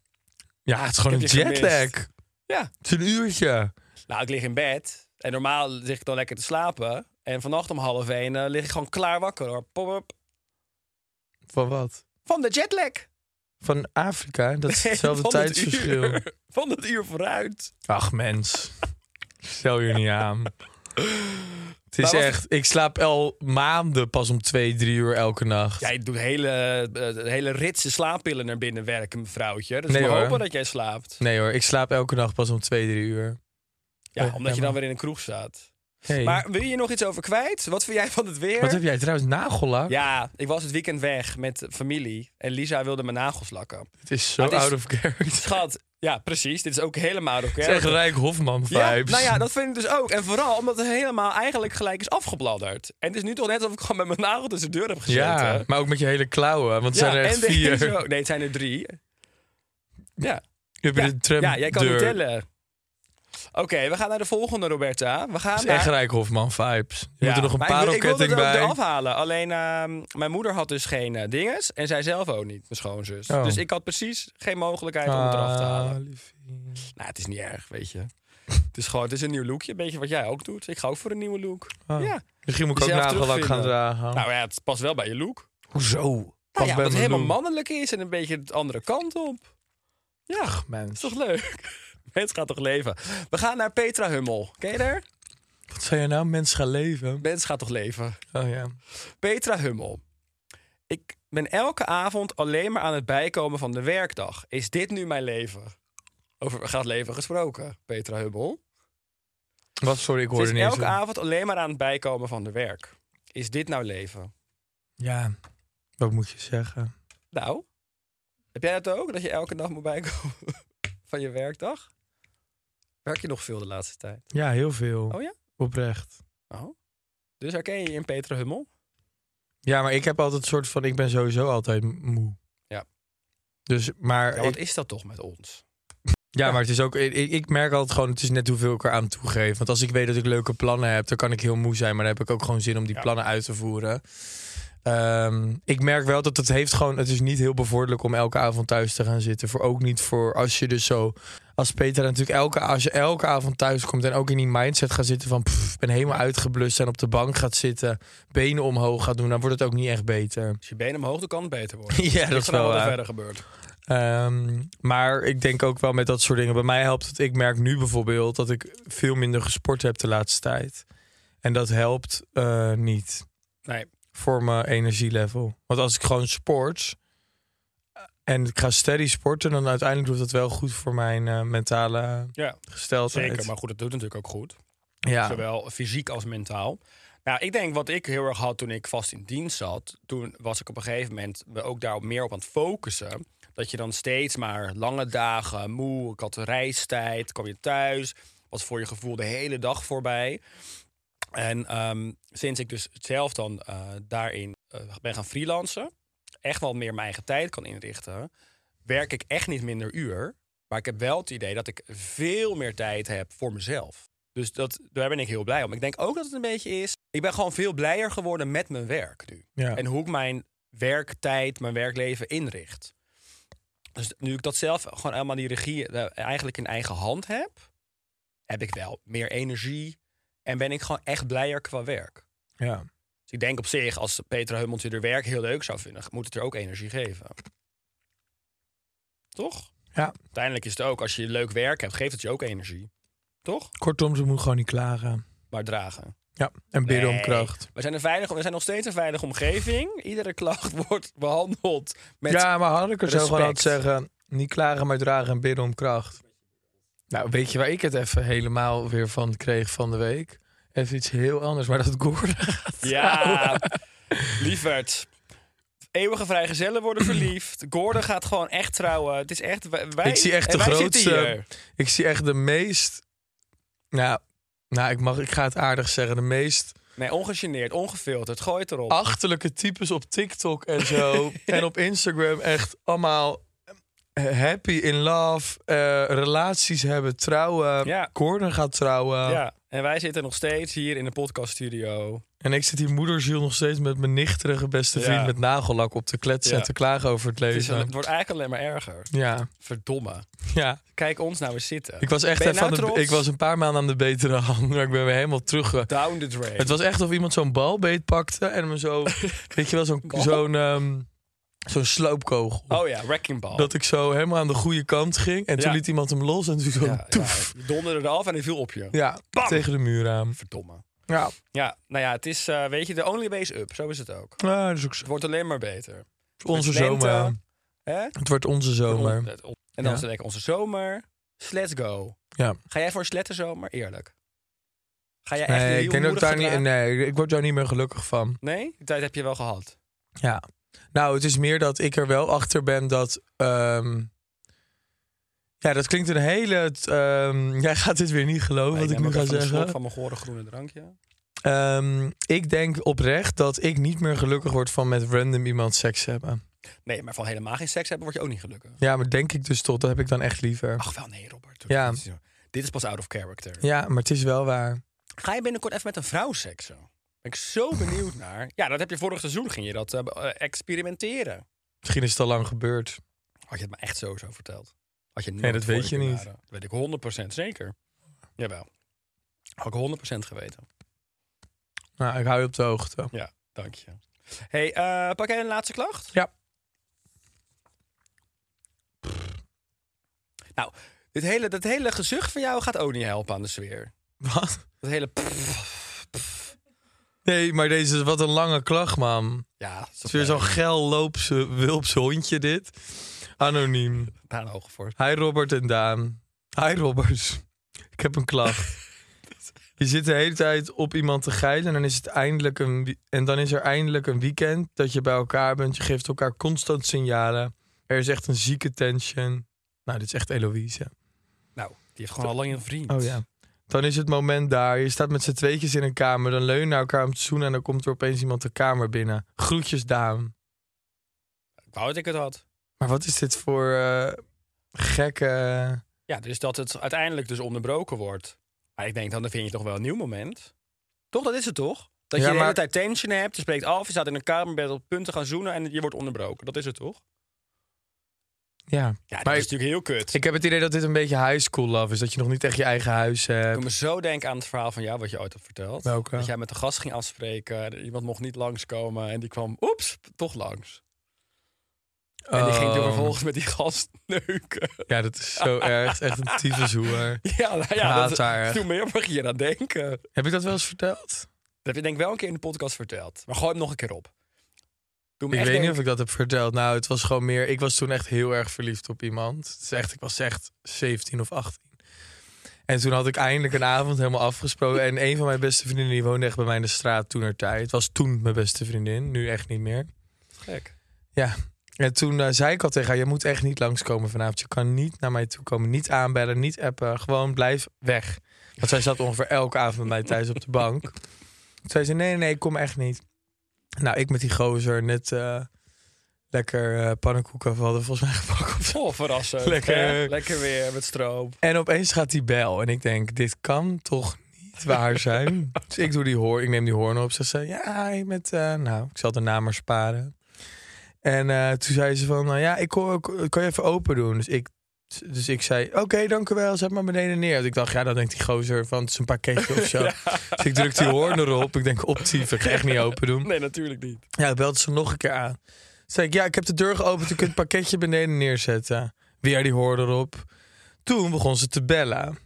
D: Ja.
C: het is gewoon een
D: Ik heb je
C: jetlag.
D: gemist. ja.
C: Het is een uurtje.
D: Nou, ik lig in bed. En normaal lig ik dan lekker te slapen. En vannacht om half 1 lig ik gewoon klaar wakker. Hoor. Pop, pop.
C: Van wat?
D: Van de jetlag.
C: Van Afrika. Dat
D: (laughs)
C: is hetzelfde
D: Van het
C: tijdsverschil.
D: uur. (laughs) Van het uur vooruit.
C: Ach mens, stel je niet aan. Het is
D: Maar wat-
C: echt, ik slaap al maanden pas om twee, drie uur elke nacht.
D: Jij doet hele, eh, hele ritse slaappillen naar binnen werken, mevrouwtje. Dus
C: Nee,
D: we
C: hoor.
D: hopen dat jij slaapt.
C: Nee hoor, ik slaap elke nacht pas om twee, drie uur.
D: Ja,
C: Eh,
D: omdat je
C: ja,
D: dan
C: maar-
D: weer in een kroeg staat.
C: Hey.
D: Maar wil je hier nog iets over kwijt? Wat vind jij van het weer?
C: Wat heb jij trouwens, nagellak?
D: Ja, ik was het weekend weg met familie en Lisa wilde mijn nagels lakken.
C: Het is zo
D: Maar het is-
C: out of character.
D: Schat, (laughs) ja, precies. Dit is ook helemaal out of
C: Het is echt
D: character.
C: Rijk Hofman vibes.
D: Ja, nou ja, dat vind ik dus ook. En vooral omdat het helemaal eigenlijk gelijk is afgebladderd. En het is nu toch net alsof ik gewoon met mijn nagel tussen de deur heb gezeten.
C: Ja, maar ook met je hele klauwen, want er zijn er echt
D: en deze
C: (laughs) vier.
D: ook. Nee, het zijn er drie. Ja,
C: Je hebt
D: ja.
C: de tram
D: ja jij kan niet
C: deur.
D: tellen. Oké, we gaan naar de volgende, Roberta. We gaan
C: Het is
D: naar...
C: echt Rijk Hofman vibes. Je moet
D: Ja,
C: er nog een
D: maar ik wil-
C: parelketting
D: Ik wilde het
C: bij.
D: ook eraf halen. Alleen ehm, mijn moeder had dus geen eh, dinges. En zij zelf ook niet, mijn schoonzus.
C: Oh.
D: Dus ik had precies geen mogelijkheid om het eraf te halen.
C: Ah, liefie.
D: Nou, het is niet erg, weet je. het is gewoon, het is een nieuw lookje. Een beetje wat jij ook doet. Ik ga ook voor een nieuwe look.
C: Ah.
D: Ja.
C: Misschien moet ik ook
D: Jezelf
C: nagellak gaan
D: terugvinden.
C: dragen.
D: Nou ja, het past wel bij je look.
C: hoezo?
D: Nou ja,
C: Oh. bij
D: wat
C: mijn
D: helemaal
C: look.
D: mannelijk is en een beetje de andere kant op. Ja,
C: Ach,
D: is
C: mens.
D: toch leuk? (laughs) Mens gaat toch leven. We gaan naar Petra Hummel. Ken je haar?
C: Wat zei je nou? Mens gaan leven.
D: Mens gaat toch leven.
C: Oh ja.
D: Petra Hummel. Ik ben elke avond alleen maar aan het bijkomen van de werkdag. Is dit nu mijn leven? Over gaat leven gesproken, Petra Hummel.
C: Wat, sorry, ik
D: Ze
C: hoorde
D: is
C: niet.
D: elke
C: eens.
D: avond alleen maar aan het bijkomen van de werk. Is dit nou leven?
C: Ja, wat moet je zeggen?
D: Nou, heb jij dat ook? Dat je elke dag moet bijkomen (laughs) van je werkdag? Werk je nog veel de laatste tijd?
C: Ja, heel veel.
D: Oh ja?
C: Oprecht.
D: Oh. Dus herken je je in Petra Hummel?
C: Ja, maar ik heb altijd een soort van, ik ben sowieso altijd moe.
D: Ja.
C: Dus, maar
D: Ja,
C: ik-
D: wat is dat toch met ons?
C: Ja, maar het is ook. Ik, ik merk altijd gewoon, het is net hoeveel ik eraan toegeef. Want als ik weet dat ik leuke plannen heb, dan kan ik heel moe zijn. Maar dan heb ik ook gewoon zin om die
D: Ja.
C: plannen uit te voeren. Ehm, ik merk wel dat het heeft gewoon. Het is niet heel bevorderlijk om elke avond thuis te gaan zitten. Voor ook niet voor als je dus zo. Als Peter natuurlijk elke, als je elke avond thuis komt en ook in die mindset gaat zitten van pff, ik ben helemaal uitgeblust en op de bank gaat zitten, benen omhoog gaat doen, dan wordt het ook niet echt beter. (laughs)
D: Als je benen omhoog, dan kan het beter worden.
C: Ja, dat
D: ik
C: is
D: vraag
C: wel
D: me wat er
C: waar.
D: verder gebeurt.
C: Ehm, maar ik denk ook wel met dat soort dingen. Bij mij helpt het. Ik merk nu bijvoorbeeld dat ik veel minder gesport heb de laatste tijd. En dat helpt eh, niet
D: Nee.
C: voor mijn energielevel. Want als ik gewoon sport eh, en ik ga steady sporten, dan uiteindelijk doet dat wel goed voor mijn eh, mentale
D: Ja,
C: gesteldheid.
D: zeker. Maar goed, dat doet natuurlijk ook goed.
C: ja.
D: Zowel fysiek als mentaal. Nou, ik denk wat ik heel erg had toen ik vast in dienst zat. Toen was ik op een gegeven moment me ook daar meer op aan het focussen. Dat je dan steeds maar lange dagen, moe, ik had reistijd, kwam je thuis. Was voor je gevoel de hele dag voorbij. En ehm, sinds ik dus zelf dan eh, daarin eh, ben gaan freelancen. Echt wel meer mijn eigen tijd kan inrichten. Werk ik echt niet minder uur. Maar ik heb wel het idee dat ik veel meer tijd heb voor mezelf. Dus dat, daar ben ik heel blij om. Ik denk ook dat het een beetje is. Ik ben gewoon veel blijer geworden met mijn werk nu.
C: Ja.
D: En hoe ik mijn werktijd, mijn werkleven inricht. Dus nu ik dat zelf gewoon helemaal die regie eh, eigenlijk in eigen hand heb, heb ik wel meer energie. En ben ik gewoon echt blijer qua werk.
C: ja.
D: Dus ik denk op zich, als Petra Hummeltje haar werk heel leuk zou vinden, moet het er ook energie geven. Toch?
C: Ja.
D: Uiteindelijk is het ook, als je leuk werk hebt, geeft het je ook energie. Toch?
C: Kortom, ze moet gewoon niet klagen.
D: Maar dragen.
C: Ja. En bidden om
D: Nee.
C: kracht.
D: We zijn, een veilige, we zijn nog steeds een veilige omgeving. Iedere klacht (laughs) wordt behandeld met...
C: ja, maar had ik er zo gewoon
D: respect.
C: had zeggen... niet klagen, maar dragen en bidden om kracht. Nou, weet je waar ik het even helemaal weer van kreeg van de week? Even iets heel anders, maar dat Goerda (laughs) gaat
D: ja.
C: trouwen.
D: lieverd. Eeuwige vrijgezellen worden verliefd. Gordon gaat gewoon echt trouwen. Het is echt... Wij,
C: Ik zie echt
D: en
C: de
D: wij zitten
C: grootste-
D: hier.
C: Ik zie echt de meest... Nou, nou ik, mag, ik ga het aardig zeggen. De meest
D: Nee, ongegeneerd, ongefilterd. Gooi het erop.
C: achterlijke types op TikTok en
D: (laughs)
C: zo. en op Instagram echt allemaal... Happy in love, eh, relaties hebben, trouwen.
D: Ja.
C: Gordon gaat trouwen.
D: Ja, en wij zitten nog steeds hier in de podcaststudio.
C: En ik zit hier moederziel nog steeds met mijn nichterige beste vriend
D: Ja.
C: met nagellak op te kletsen
D: Ja.
C: en te klagen over het
D: Het, is,
C: leven.
D: het wordt eigenlijk alleen maar erger.
C: Ja,
D: Verdomme.
C: ja.
D: Kijk ons nou eens zitten.
C: Ik was echt
D: Ben je
C: even
D: nou
C: aan de,
D: trots?
C: ik was een paar maanden aan de betere hand, maar ik ben weer helemaal terug. eh.
D: Down the drain.
C: Het was echt of iemand zo'n balbeet pakte en me
D: (laughs)
C: zo, weet je wel, zo'n
D: Bal?
C: zo'n ehm, zo'n sloopkogel.
D: Oh ja, wrecking ball.
C: Dat ik zo helemaal aan de goede kant ging en toen
D: Ja.
C: liet iemand hem los en toen zo
D: ja, ja,
C: toef.
D: je donderde eraf en hij viel op je.
C: Ja,
D: Bam!
C: tegen de muur aan.
D: Verdomme.
C: Ja,
D: Ja, nou ja, het is, eh, weet je, de only way is up. Zo is het ook.
C: ah, dat is ook zo.
D: Het wordt alleen maar beter.
C: onze
D: Met lente,
C: zomer.
D: Hè? eh,
C: Het wordt onze zomer.
D: En dan
C: Ja.
D: is het lekker onze zomer. Let's go.
C: Ja.
D: Ga jij voor een sletterzomer? Eerlijk. Ga jij echt
C: Nee,
D: heel
C: ik denk dat ik
D: moedig
C: daar niet,
D: gedragen?
C: nee, ik word daar niet meer gelukkig van.
D: Nee? Die tijd heb je wel gehad.
C: Ja. Nou, het is meer dat ik er wel achter ben dat. ehm, ja, dat klinkt een hele. t- ehm, (laughs) jij gaat dit weer niet geloven
D: Nee,
C: Oh, wat ik
D: neem
C: nu
D: ook
C: ga
D: even een
C: zeggen.
D: slok van mijn gore groene drankje.
C: Ehm, ik denk oprecht dat ik niet meer gelukkig word van met random iemand seks hebben.
D: Nee, maar van helemaal geen seks hebben word je ook niet gelukkig.
C: Ja, maar denk ik dus toch. Dat heb ik dan echt liever.
D: Ach wel, nee Robert. Doe
C: Ja.
D: dit niet zo. Dit is pas out of character.
C: Ja, maar het is wel waar.
D: Ga je binnenkort even met een vrouw seksen? Ben ik zo benieuwd naar. Ja, dat heb je vorig seizoen, ging je dat eh, be- eh, experimenteren.
C: Misschien is het al lang gebeurd.
D: Had je het me echt sowieso verteld? Had je
C: dat weet je niet.
D: Dat weet ik 100% zeker. Jawel. Had ik 100% geweten.
C: Nou, ik hou je op de hoogte.
D: Ja, dank je. hey, eh, pak jij een laatste klacht?
C: Ja. (laughs)
D: Nou, dit hele, dat hele gezucht van jou gaat ook niet helpen aan de sfeer.
C: Wat?
D: Dat hele...
C: Nee, maar deze is wat een lange klacht, man.
D: Ja,
C: Het is weer zo'n gel loopse, wulpse hondje dit. Anoniem.
D: Daar hoog voor.
C: Hi Robert en Daan. Hi Robert. Ik heb een (laughs) klacht. Je zit de hele tijd op iemand te geilen en dan is, het eindelijk een, wie- en dan is er eindelijk een weekend dat je bij elkaar bent. Je geeft elkaar constant signalen. Er is echt een zieke tension. Nou, dit is echt Eloïse.
D: Nou, die heeft gewoon al lang een vriend.
C: Oh ja. Dan is het moment daar. Je staat met z'n tweetjes in een kamer. Dan leunen naar elkaar om te zoenen en dan komt er opeens iemand de kamer binnen. Groetjes Daan.
D: Ik wou dat ik het had.
C: Maar wat is dit voor eh, gekke... eh,
D: Ja, dus dat het uiteindelijk dus onderbroken wordt. Maar ik denk, dan vind je toch wel een nieuw moment. Toch, dat is het toch? Dat
C: Ja,
D: je de hele
C: maar-
D: tijd tension hebt, je spreekt af, je staat in een kamerbed op punten gaan zoenen en je wordt onderbroken. Dat is het toch?
C: Ja,
D: Ja, dat
C: Maar
D: is dus-
C: ik-
D: natuurlijk heel kut.
C: Ik heb het idee dat dit een beetje high school love is. Dat je nog niet echt je eigen huis
D: Ik
C: hebt.
D: moet me zo denken aan het verhaal van jou, wat je ooit hebt verteld.
C: Welke?
D: Dat jij met de gast ging afspreken, iemand mocht niet langskomen en die kwam, oeps, toch langs. En die ging toen
C: Oh.
D: vervolgens met die gast neuken.
C: Ja, dat is
D: (laughs)
C: zo erg. Echt een tyfushoer.
D: Ja, nou ja,
C: Haat
D: dat,
C: haar echt.
D: toen meer mag je aan denken. Dat
C: Heb ik dat wel eens verteld?
D: heb je denk ik wel een keer in de podcast verteld. Maar gooi hem nog een keer op. Doe me
C: Ik
D: echt
C: weet niet of
D: denken-
C: ik dat heb verteld. Nou, het was gewoon meer... Ik was toen echt heel erg verliefd op iemand. Het is echt, ik was echt 17 of 18. En toen had ik eindelijk een avond helemaal afgesproken. En een van mijn beste vriendinnen die woonde echt bij mij in de straat toen er tijd. Het was toen mijn beste vriendin. Nu echt niet meer.
D: Gek.
C: Ja. En toen eh, zei ik al tegen haar, je moet echt niet langskomen vanavond. Je kan niet naar mij toe komen, niet aanbellen, niet appen. Gewoon blijf weg. Want zij zat ongeveer elke avond bij mij thuis op de bank. Toen zei ze, nee, nee, nee, ik kom echt niet. Nou, ik met die gozer net eh, lekker eh, pannenkoeken. We hadden volgens mij gepakt of zo.
D: Vol verrassen.
C: (laughs) Lekker.
D: Oh, Hè? Lekker weer met stroop.
C: En opeens gaat die bel. En ik denk, dit kan toch niet waar zijn? dus ik, doe die hoor, ik neem die hoorn op. Ze zei, ja, hi, met... eh, nou, ik zal de naam maar sparen. En eh, toen zei ze van, nou ja, ik hoor, ook- kan je even open doen? Dus ik, dus ik zei, oké, dank u wel. Zet maar beneden neer. Want ik dacht, ja, dan denkt die gozer van, het is een pakketje of zo. Dus ik druk die hoorn erop. Ik denk, optief, ik ga echt niet open doen.
D: Nee, natuurlijk niet.
C: Ja, belde ze nog een keer aan. Toen zei ik, ja, ik heb de deur geopend. Je kunt het pakketje beneden neerzetten. Weer die hoorde erop. Toen begon ze te bellen.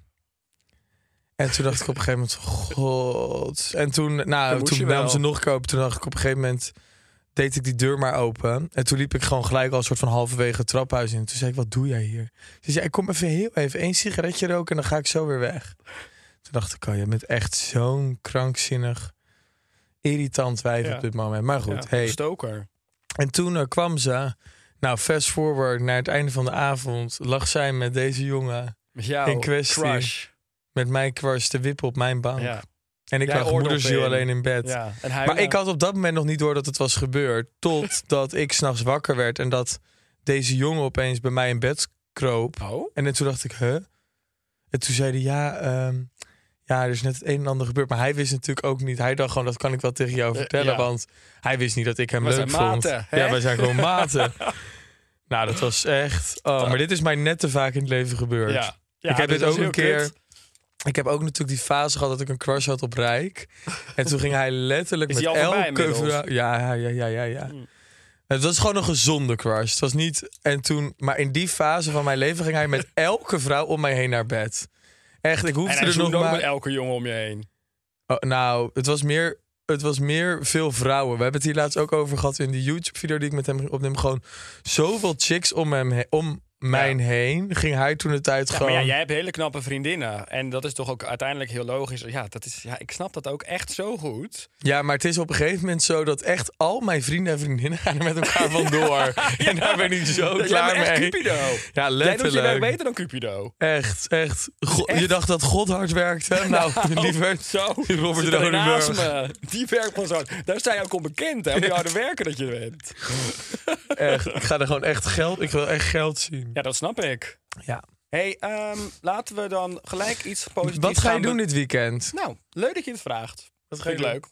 C: En toen dacht ik op een gegeven moment, god. En toen, nou,
D: moest
C: toen
D: je
C: belde
D: wel.
C: ze nog een keer open. Toen dacht ik op een gegeven moment, deed ik die deur maar open. En toen liep ik gewoon gelijk al een soort van halverwege het traphuis in. Toen zei ik, wat doe jij hier? Ze zei, ja, ik kom even heel even één sigaretje roken en dan ga ik zo weer weg. Toen dacht ik, oh, je bent echt zo'n krankzinnig, irritant wijf
D: Ja.
C: op dit moment. Maar goed,
D: Ja,
C: hey.
D: Stoker.
C: En toen eh, kwam ze. Nou, fast forward naar het einde van de avond. Lag zij met deze jongen,
D: Met jou.
C: In kwestie.
D: Crush.
C: met mij kwars te wippen op mijn bank.
D: Ja.
C: En ik
D: Jij
C: lag
D: oordeel
C: moederziel
D: in.
C: alleen in bed.
D: ja. En hij
C: Maar ik had op dat moment nog niet door dat het was gebeurd.
D: (laughs)
C: Totdat ik s'nachts wakker werd en dat deze jongen opeens bij mij in bed kroop.
D: Oh?
C: En toen dacht ik, huh? En toen zei hij, ja, ehm, ja, er is net het een en ander gebeurd. Maar hij wist natuurlijk ook niet. Hij dacht gewoon, dat kan ik wel tegen jou vertellen.
D: Eh, ja.
C: Want hij wist niet dat ik hem
D: Wij
C: leuk
D: zijn
C: vond.
D: maten, hè?
C: ja, wij zijn gewoon
D: (laughs)
C: maten. nou, dat was echt... Oh, maar dit is mij net te vaak in het leven gebeurd.
D: Ja. Ja,
C: ik heb
D: dus
C: dit
D: dat
C: ook
D: is
C: een
D: heel
C: keer...
D: kut.
C: Ik heb ook natuurlijk die fase gehad dat ik een crush had op
D: (laughs)
C: Rijk. En toen ging hij letterlijk
D: Is
C: met
D: die al
C: elke
D: voorbij inmiddels? Hmm.
C: vrouw... Ja, ja, ja, ja, ja. ja. Het was gewoon een gezonde crush. Het was niet... En toen, maar in die fase van mijn leven ging hij
D: (laughs)
C: met elke vrouw om mij heen naar bed. Echt, ik
D: En
C: hoefde
D: hij
C: er nog
D: zoent ook
C: maar...
D: met elke jongen om je heen.
C: Oh, nou, het was, meer, het was meer veel vrouwen. We hebben het hier laatst ook over gehad in die YouTube-video die ik met hem opneem. Gewoon zoveel chicks om, hem he- om mijn heen ging hij toen de tijd
D: Ja,
C: gewoon...
D: maar ja, jij hebt hele knappe vriendinnen. En dat is toch ook uiteindelijk heel logisch. Ja, dat is, ja ik snap dat ook echt zo goed.
C: Ja, maar het is op een gegeven moment zo dat echt al mijn vrienden en vriendinnen (laughs) gaan er met elkaar
D: (laughs)
C: vandoor. (laughs) En daar ben ik zo
D: Jij
C: klaar
D: bent echt
C: mee.
D: Cupido.
C: Ja,
D: Jij doet je werk
C: letterlijk.
D: beter dan Cupido.
C: Echt, echt. Go- Je dacht dat God hard
D: (laughs)
C: werkte? Nou, (laughs) (laughs) liever
D: oh, Zo,
C: Robert
D: zit er naast
C: Rodenburg.
D: me. Die werkpersoon. Daar sta je ook onbekend, hè? Hoe harde werken dat je bent.
C: Echt, ik ga er gewoon echt geld... Ik wil echt geld zien.
D: Ja, dat snap ik.
C: Ja.
D: hey, ehm, laten we dan gelijk iets positiefs
C: Wat ga je
D: gaan be-
C: doen dit weekend?
D: Nou, leuk dat je het vraagt. Dat
C: ga je
D: Vind ik leuk.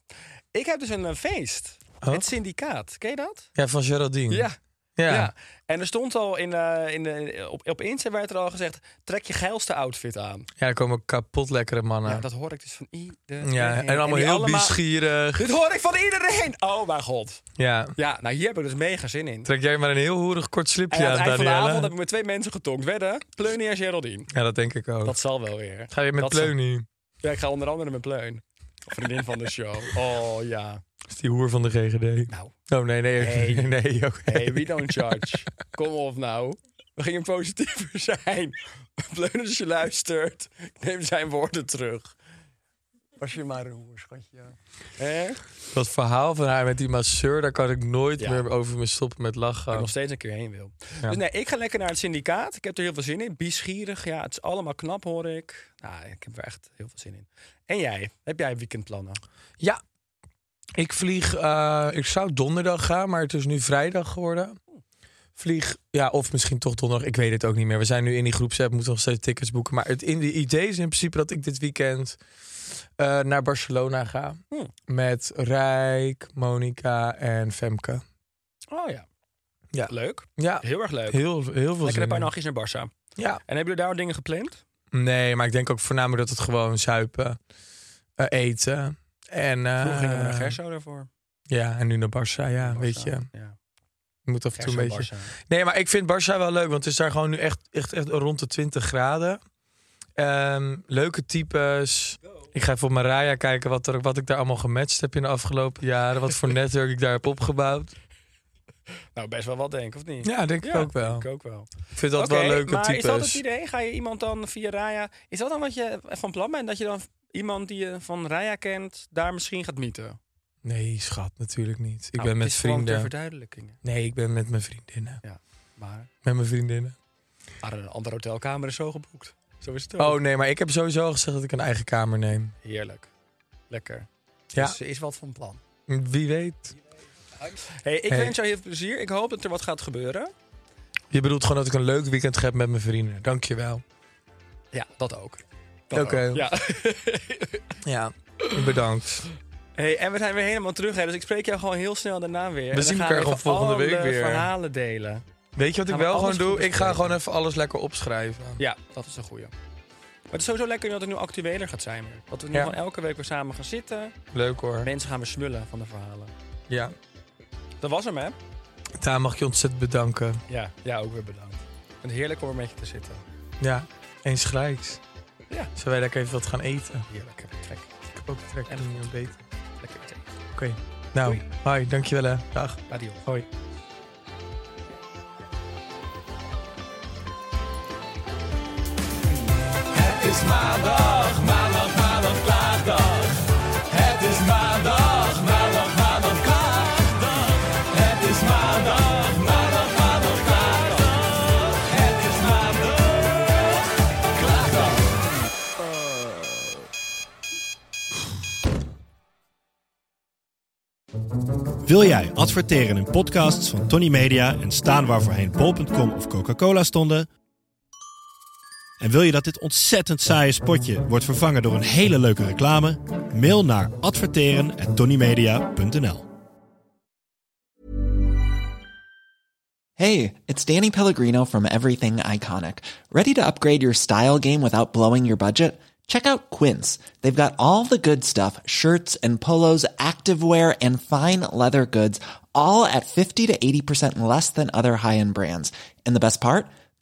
D: Ik heb dus een eh, feest. Het syndicaat. Ken je dat?
C: Ja, van Geraldine.
D: Ja.
C: Ja.
D: Ja. En er stond al in, eh, in de- op, op Insta werd er al gezegd: trek je geilste outfit aan.
C: Ja, er komen kapot lekkere mannen.
D: Ja,
C: Ja,
D: dat hoor ik dus van iedereen.
C: en allemaal
D: die
C: heel nieuwsgierig.
D: Dit hoor ik van iedereen! Oh, mijn god.
C: Ja.
D: Ja, nou hier heb ik dus mega zin in.
C: Trek jij maar een heel hoerig kort
D: En
C: slipje
D: aan het
C: aan,
D: eind van de avond
C: Danielle.
D: heb ik met twee mensen getonkt. Wedden, Pleunie en Geraldine.
C: Ja, dat denk ik ook.
D: Dat zal wel weer.
C: Ga je met
D: dat zal-
C: Pleunie?
D: Ja, ik ga onder andere met Pleun. Vriendin van de show. Oh ja.
C: Dat is die hoer van de GGD.
D: Nou,
C: Oh, nee, nee. (laughs)
D: Hey.
C: Nee, nee oké.
D: hey, we don't charge. Kom op nou. We gingen positiever zijn. Pleun als je luistert. ik Neem zijn woorden terug. Was je maar roer, schatje. Hè? Ik
C: Dat verhaal van haar met die masseur, daar kan ik nooit
D: Ja.
C: meer over me stoppen met lachen.
D: nog steeds een keer heen wil. Dus nee, ik ga lekker naar het syndicaat. Ik heb er heel veel zin in. Bieschierig, ja. Het is allemaal knap, hoor ik. Nou, ik heb er echt heel veel zin in. En jij? Heb jij weekendplannen?
C: Ja, ik vlieg. eh, ik zou donderdag gaan, maar het is nu vrijdag geworden. Vlieg, ja, of misschien toch donderdag. Ik weet het ook niet meer. We zijn nu in die groepsapp, moeten nog steeds tickets boeken. Maar het in de idee is in principe dat ik dit weekend eh, naar Barcelona ga.
D: Hmm.
C: Met Rijk, Monica en Femke.
D: Oh ja.
C: Ja.
D: Leuk.
C: Ja,
D: Heel erg leuk.
C: heel, heel veel
D: lekker
C: zin
D: een paar
C: in.
D: nachtjes naar Barça.
C: Ja.
D: En hebben jullie daar wat dingen gepland?
C: Nee, maar ik denk ook voornamelijk dat het gewoon zuipen, eh, eten. En, eh,
D: Vroeger gingen we naar Gerso daarvoor.
C: Ja, en nu naar Barça. Ja,
D: Barça,
C: weet je.
D: Ja.
C: Je moet af en toe
D: Gerso,
C: een beetje...
D: Barça.
C: Nee, maar ik vind Barça wel leuk, want het is daar gewoon nu echt, echt, echt rond de 20 graden. Ehm, leuke types. Ik ga even op Maraya kijken wat, er, wat ik daar allemaal gematcht heb in de afgelopen jaren. Wat
D: (laughs)
C: voor netwerk ik daar heb opgebouwd.
D: Nou, best wel wat denk ik, of niet?
C: Ja, denk ik ook wel.
D: denk ik ook wel.
C: Ik vind dat
D: Oké,
C: wel leuke
D: maar is dat het
C: types.
D: idee? Ga je iemand dan via Raya... Is dat dan wat je van plan bent? Dat je dan iemand die je van Raya kent, daar misschien gaat mieten?
C: Nee, schat, natuurlijk niet. Ik
D: Nou,
C: ben
D: het
C: met
D: is gewoon ter
C: vrienden.
D: verduidelijkingen.
C: Nee, ik ben met mijn vriendinnen.
D: Maar
C: Met mijn vriendinnen.
D: maar een andere hotelkamer is zo geboekt. Zo is het ook.
C: Oh nee, maar ik heb sowieso al gezegd dat ik een eigen kamer neem.
D: Heerlijk. Lekker.
C: Ja.
D: Dus eh, er is wat van plan.
C: Wie weet.
D: Hey, ik
C: Hey.
D: wens jou heel veel plezier. Ik hoop dat er wat gaat gebeuren.
C: Je bedoelt gewoon dat ik een leuk weekend heb met mijn vrienden. Dankjewel.
D: Ja, dat ook.
C: Oké.
D: Ja. (laughs)
C: Ja, bedankt.
D: Hey, en we zijn weer helemaal terug, hè, dus ik spreek jou gewoon heel snel daarna weer. En dan
C: zien
D: gaan
C: elkaar
D: even
C: gewoon volgende
D: alle
C: week weer.
D: verhalen delen.
C: Weet je wat ik
D: Gaan we
C: wel gewoon
D: alles
C: doe?
D: goed
C: Ik ga
D: bespreken?
C: gewoon even alles lekker opschrijven.
D: Ja, dat is een goeie. Maar het is sowieso lekker dat het nu actueler gaat zijn. weer. Dat we nu
C: Ja.
D: gewoon elke week weer samen gaan zitten.
C: Leuk hoor.
D: Mensen gaan weer smullen van de verhalen.
C: Ja.
D: Dat was hem, hè?
C: Daar mag ik je ontzettend bedanken.
D: Ja, ja ook weer bedankt. En heerlijk om er met je te zitten.
C: Ja, eens gelijks.
D: Ja.
C: Zullen wij lekker even wat gaan eten?
D: Heerlijk. Trek.
C: Ik heb ook trek
D: En
C: in een beter.
D: Lekker meteen.
C: Oké. Nou,
D: Doei.
C: hoi. Dankjewel hè. Dag.
D: Adios.
C: Hoi.
B: Het is maandag, maandag, maandag, klaagdag. Het is maandag, maandag, maandag, klaagdag. Het is maandag, maandag, maandag, klaagdag. Het is maandag, klaagdag.
F: Wil jij adverteren in podcasts van Tony Media en staan waar voorheen bol.com of Coca-Cola stonden? En wil je dat dit ontzettend saaie spotje wordt vervangen door een hele leuke reclame? Mail naar adverteren@tonymedia.nl.
G: Hey, it's Danny Pellegrino from Everything Iconic. Ready to upgrade your style game without blowing your budget? Check out Quince. They've got all the good stuff shirts and polos, activewear, and fine leather goods, all at 50 to 80% less than other high end brands. And the best part?